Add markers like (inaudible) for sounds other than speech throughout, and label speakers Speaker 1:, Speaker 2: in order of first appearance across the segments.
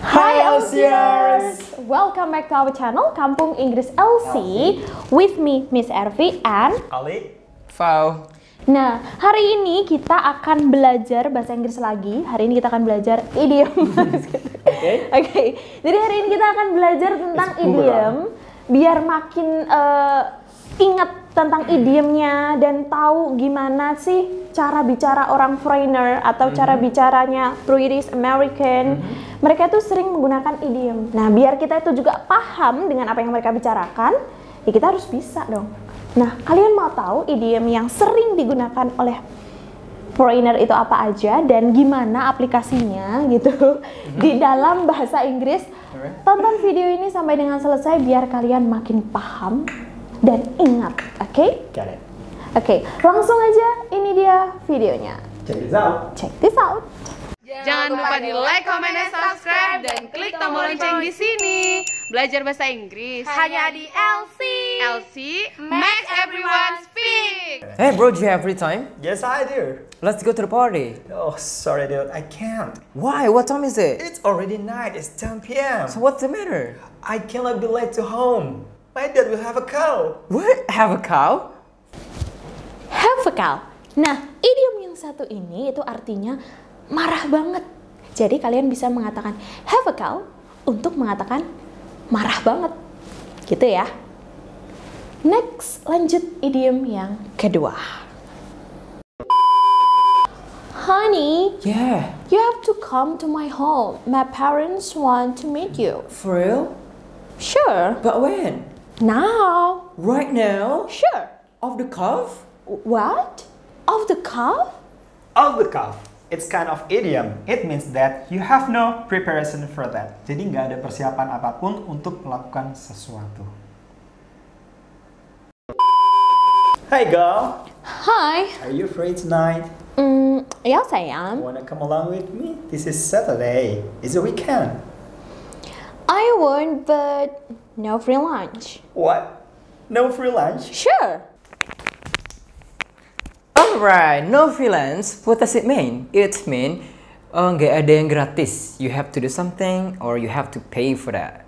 Speaker 1: Hi,
Speaker 2: Elsiers.
Speaker 1: Elsiers. Welcome back to our channel Kampung Inggris LC with me Miss Ervi and
Speaker 2: Ali.
Speaker 3: Wow,
Speaker 1: Nah, hari ini kita akan belajar bahasa Inggris lagi. Hari ini kita akan belajar idiom. (laughs) Oke. Jadi hari ini kita akan belajar tentang idiom biar makin eh, ingat tentang idiomnya dan tahu gimana sih cara bicara orang foreigner atau cara bicaranya British American. Mereka tuh sering menggunakan idiom. Nah, biar kita itu juga paham dengan apa yang mereka bicarakan, ya kita harus bisa dong. Nah, kalian mau tahu idiom yang sering digunakan oleh foreigner itu apa aja dan gimana aplikasinya gitu
Speaker 2: Mm-hmm.
Speaker 1: di dalam bahasa Inggris. Tonton video ini sampai dengan selesai biar kalian makin paham dan ingat, oke?
Speaker 2: Got it.
Speaker 1: Oke, langsung aja ini dia videonya.
Speaker 2: Check this out.
Speaker 1: Check this out.
Speaker 4: Jangan lupa di like, comment, dan subscribe dan klik tombol lonceng di sini. Belajar bahasa Inggris hanya di LC. LC makes everyone speak.
Speaker 3: Hey bro, do you have free time?
Speaker 2: Yes, I do.
Speaker 3: Let's go to the party.
Speaker 2: Oh, sorry, dude. I can't.
Speaker 3: Why? What time is it?
Speaker 2: It's already night. It's 10 p.m.
Speaker 3: So what's the matter?
Speaker 2: I cannot be late to home. My dad will have a cow.
Speaker 3: What? Have a cow?
Speaker 1: Have a cow. Nah, idiom yang satu ini itu artinya marah banget. Jadi kalian bisa mengatakan have a cow untuk mengatakan marah banget. Gitu ya. Next, lanjut idiom yang kedua. Honey,
Speaker 3: Yeah.
Speaker 1: you have to come to my home. My parents want to meet you.
Speaker 3: For real?
Speaker 1: Sure.
Speaker 3: But when?
Speaker 1: Now.
Speaker 3: Right now?
Speaker 1: Sure.
Speaker 3: Off the cuff?
Speaker 1: What? Of the cow?
Speaker 2: Off the cuff. It's kind of idiom. It means that you have no preparation for that. Jadi nggak ada persiapan apapun untuk melakukan sesuatu. Hey girl,
Speaker 1: Hi.
Speaker 2: are you free tonight?
Speaker 1: Mm, yes, I am.
Speaker 2: Wanna come along with me? This is Saturday. It's a weekend.
Speaker 1: I won't, but no free lunch.
Speaker 2: What? No free lunch?
Speaker 1: Sure.
Speaker 3: Alright, no freelance. What does it mean? It mean oh, nggak ada yang gratis. You have to do something or you have to pay for that.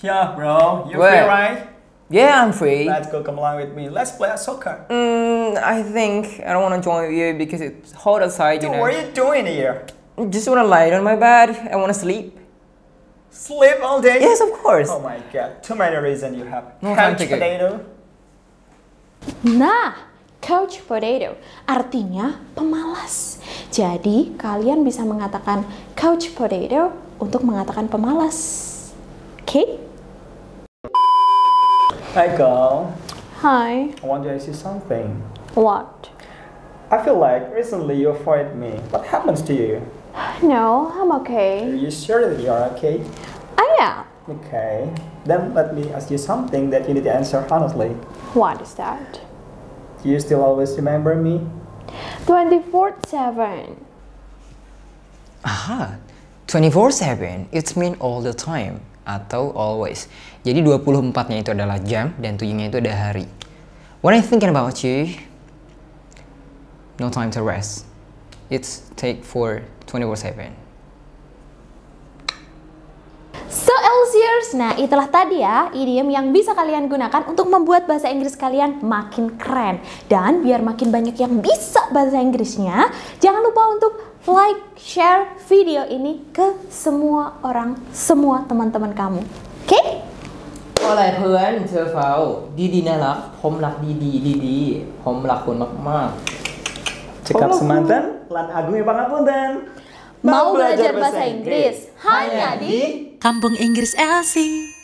Speaker 2: Yeah, bro. You free,
Speaker 3: Where?
Speaker 2: right?
Speaker 3: Yeah, I'm free.
Speaker 2: Let's go come along with me. Let's play a soccer.
Speaker 3: Mm, I think I don't want to join you because it's hot outside. You
Speaker 2: Dude,
Speaker 3: know.
Speaker 2: what are you doing here?
Speaker 3: Just want to lie on my bed. I want to sleep.
Speaker 2: Sleep all day?
Speaker 3: Yes, of course.
Speaker 2: Oh my god, too many reasons you have.
Speaker 3: No,
Speaker 2: Couch
Speaker 3: thank you.
Speaker 2: potato.
Speaker 1: Nah, couch potato artinya pemalas. Jadi, kalian bisa mengatakan couch potato untuk mengatakan pemalas. Oke?
Speaker 2: Hi, girl.
Speaker 1: Hi.
Speaker 2: I want to ask you something.
Speaker 1: What?
Speaker 2: I feel like recently you avoid me. What happens to you?
Speaker 1: No, I'm
Speaker 2: Are
Speaker 1: okay.
Speaker 2: you sure that you are okay?
Speaker 1: I am.
Speaker 2: Okay. Then let me ask you something that you need to answer honestly.
Speaker 1: What is that?
Speaker 2: Do you still always remember me?
Speaker 1: 24/7.
Speaker 3: Aha, 24/7, it mean all the time atau always. Jadi 24-nya itu adalah jam dan 7-nya itu ada hari. When I thinking about you, no time to rest. It's take for 24/7.
Speaker 1: So Elsiers, nah itulah tadi ya idiom yang bisa kalian gunakan untuk membuat bahasa Inggris kalian makin keren. Dan biar makin banyak yang bisa bahasa Inggrisnya, jangan lupa untuk like, share video ini ke semua orang, semua teman-teman kamu. Oke?
Speaker 3: อะไรเพื่อนเธอเฝ้าดีๆนะรักผมรักดีๆดีๆผมรักคุณมาก
Speaker 2: Cekap semanten, lan agungnya pangapunten.
Speaker 1: Mau belajar bahasa Inggris hanya di
Speaker 5: Kampung Inggris LC.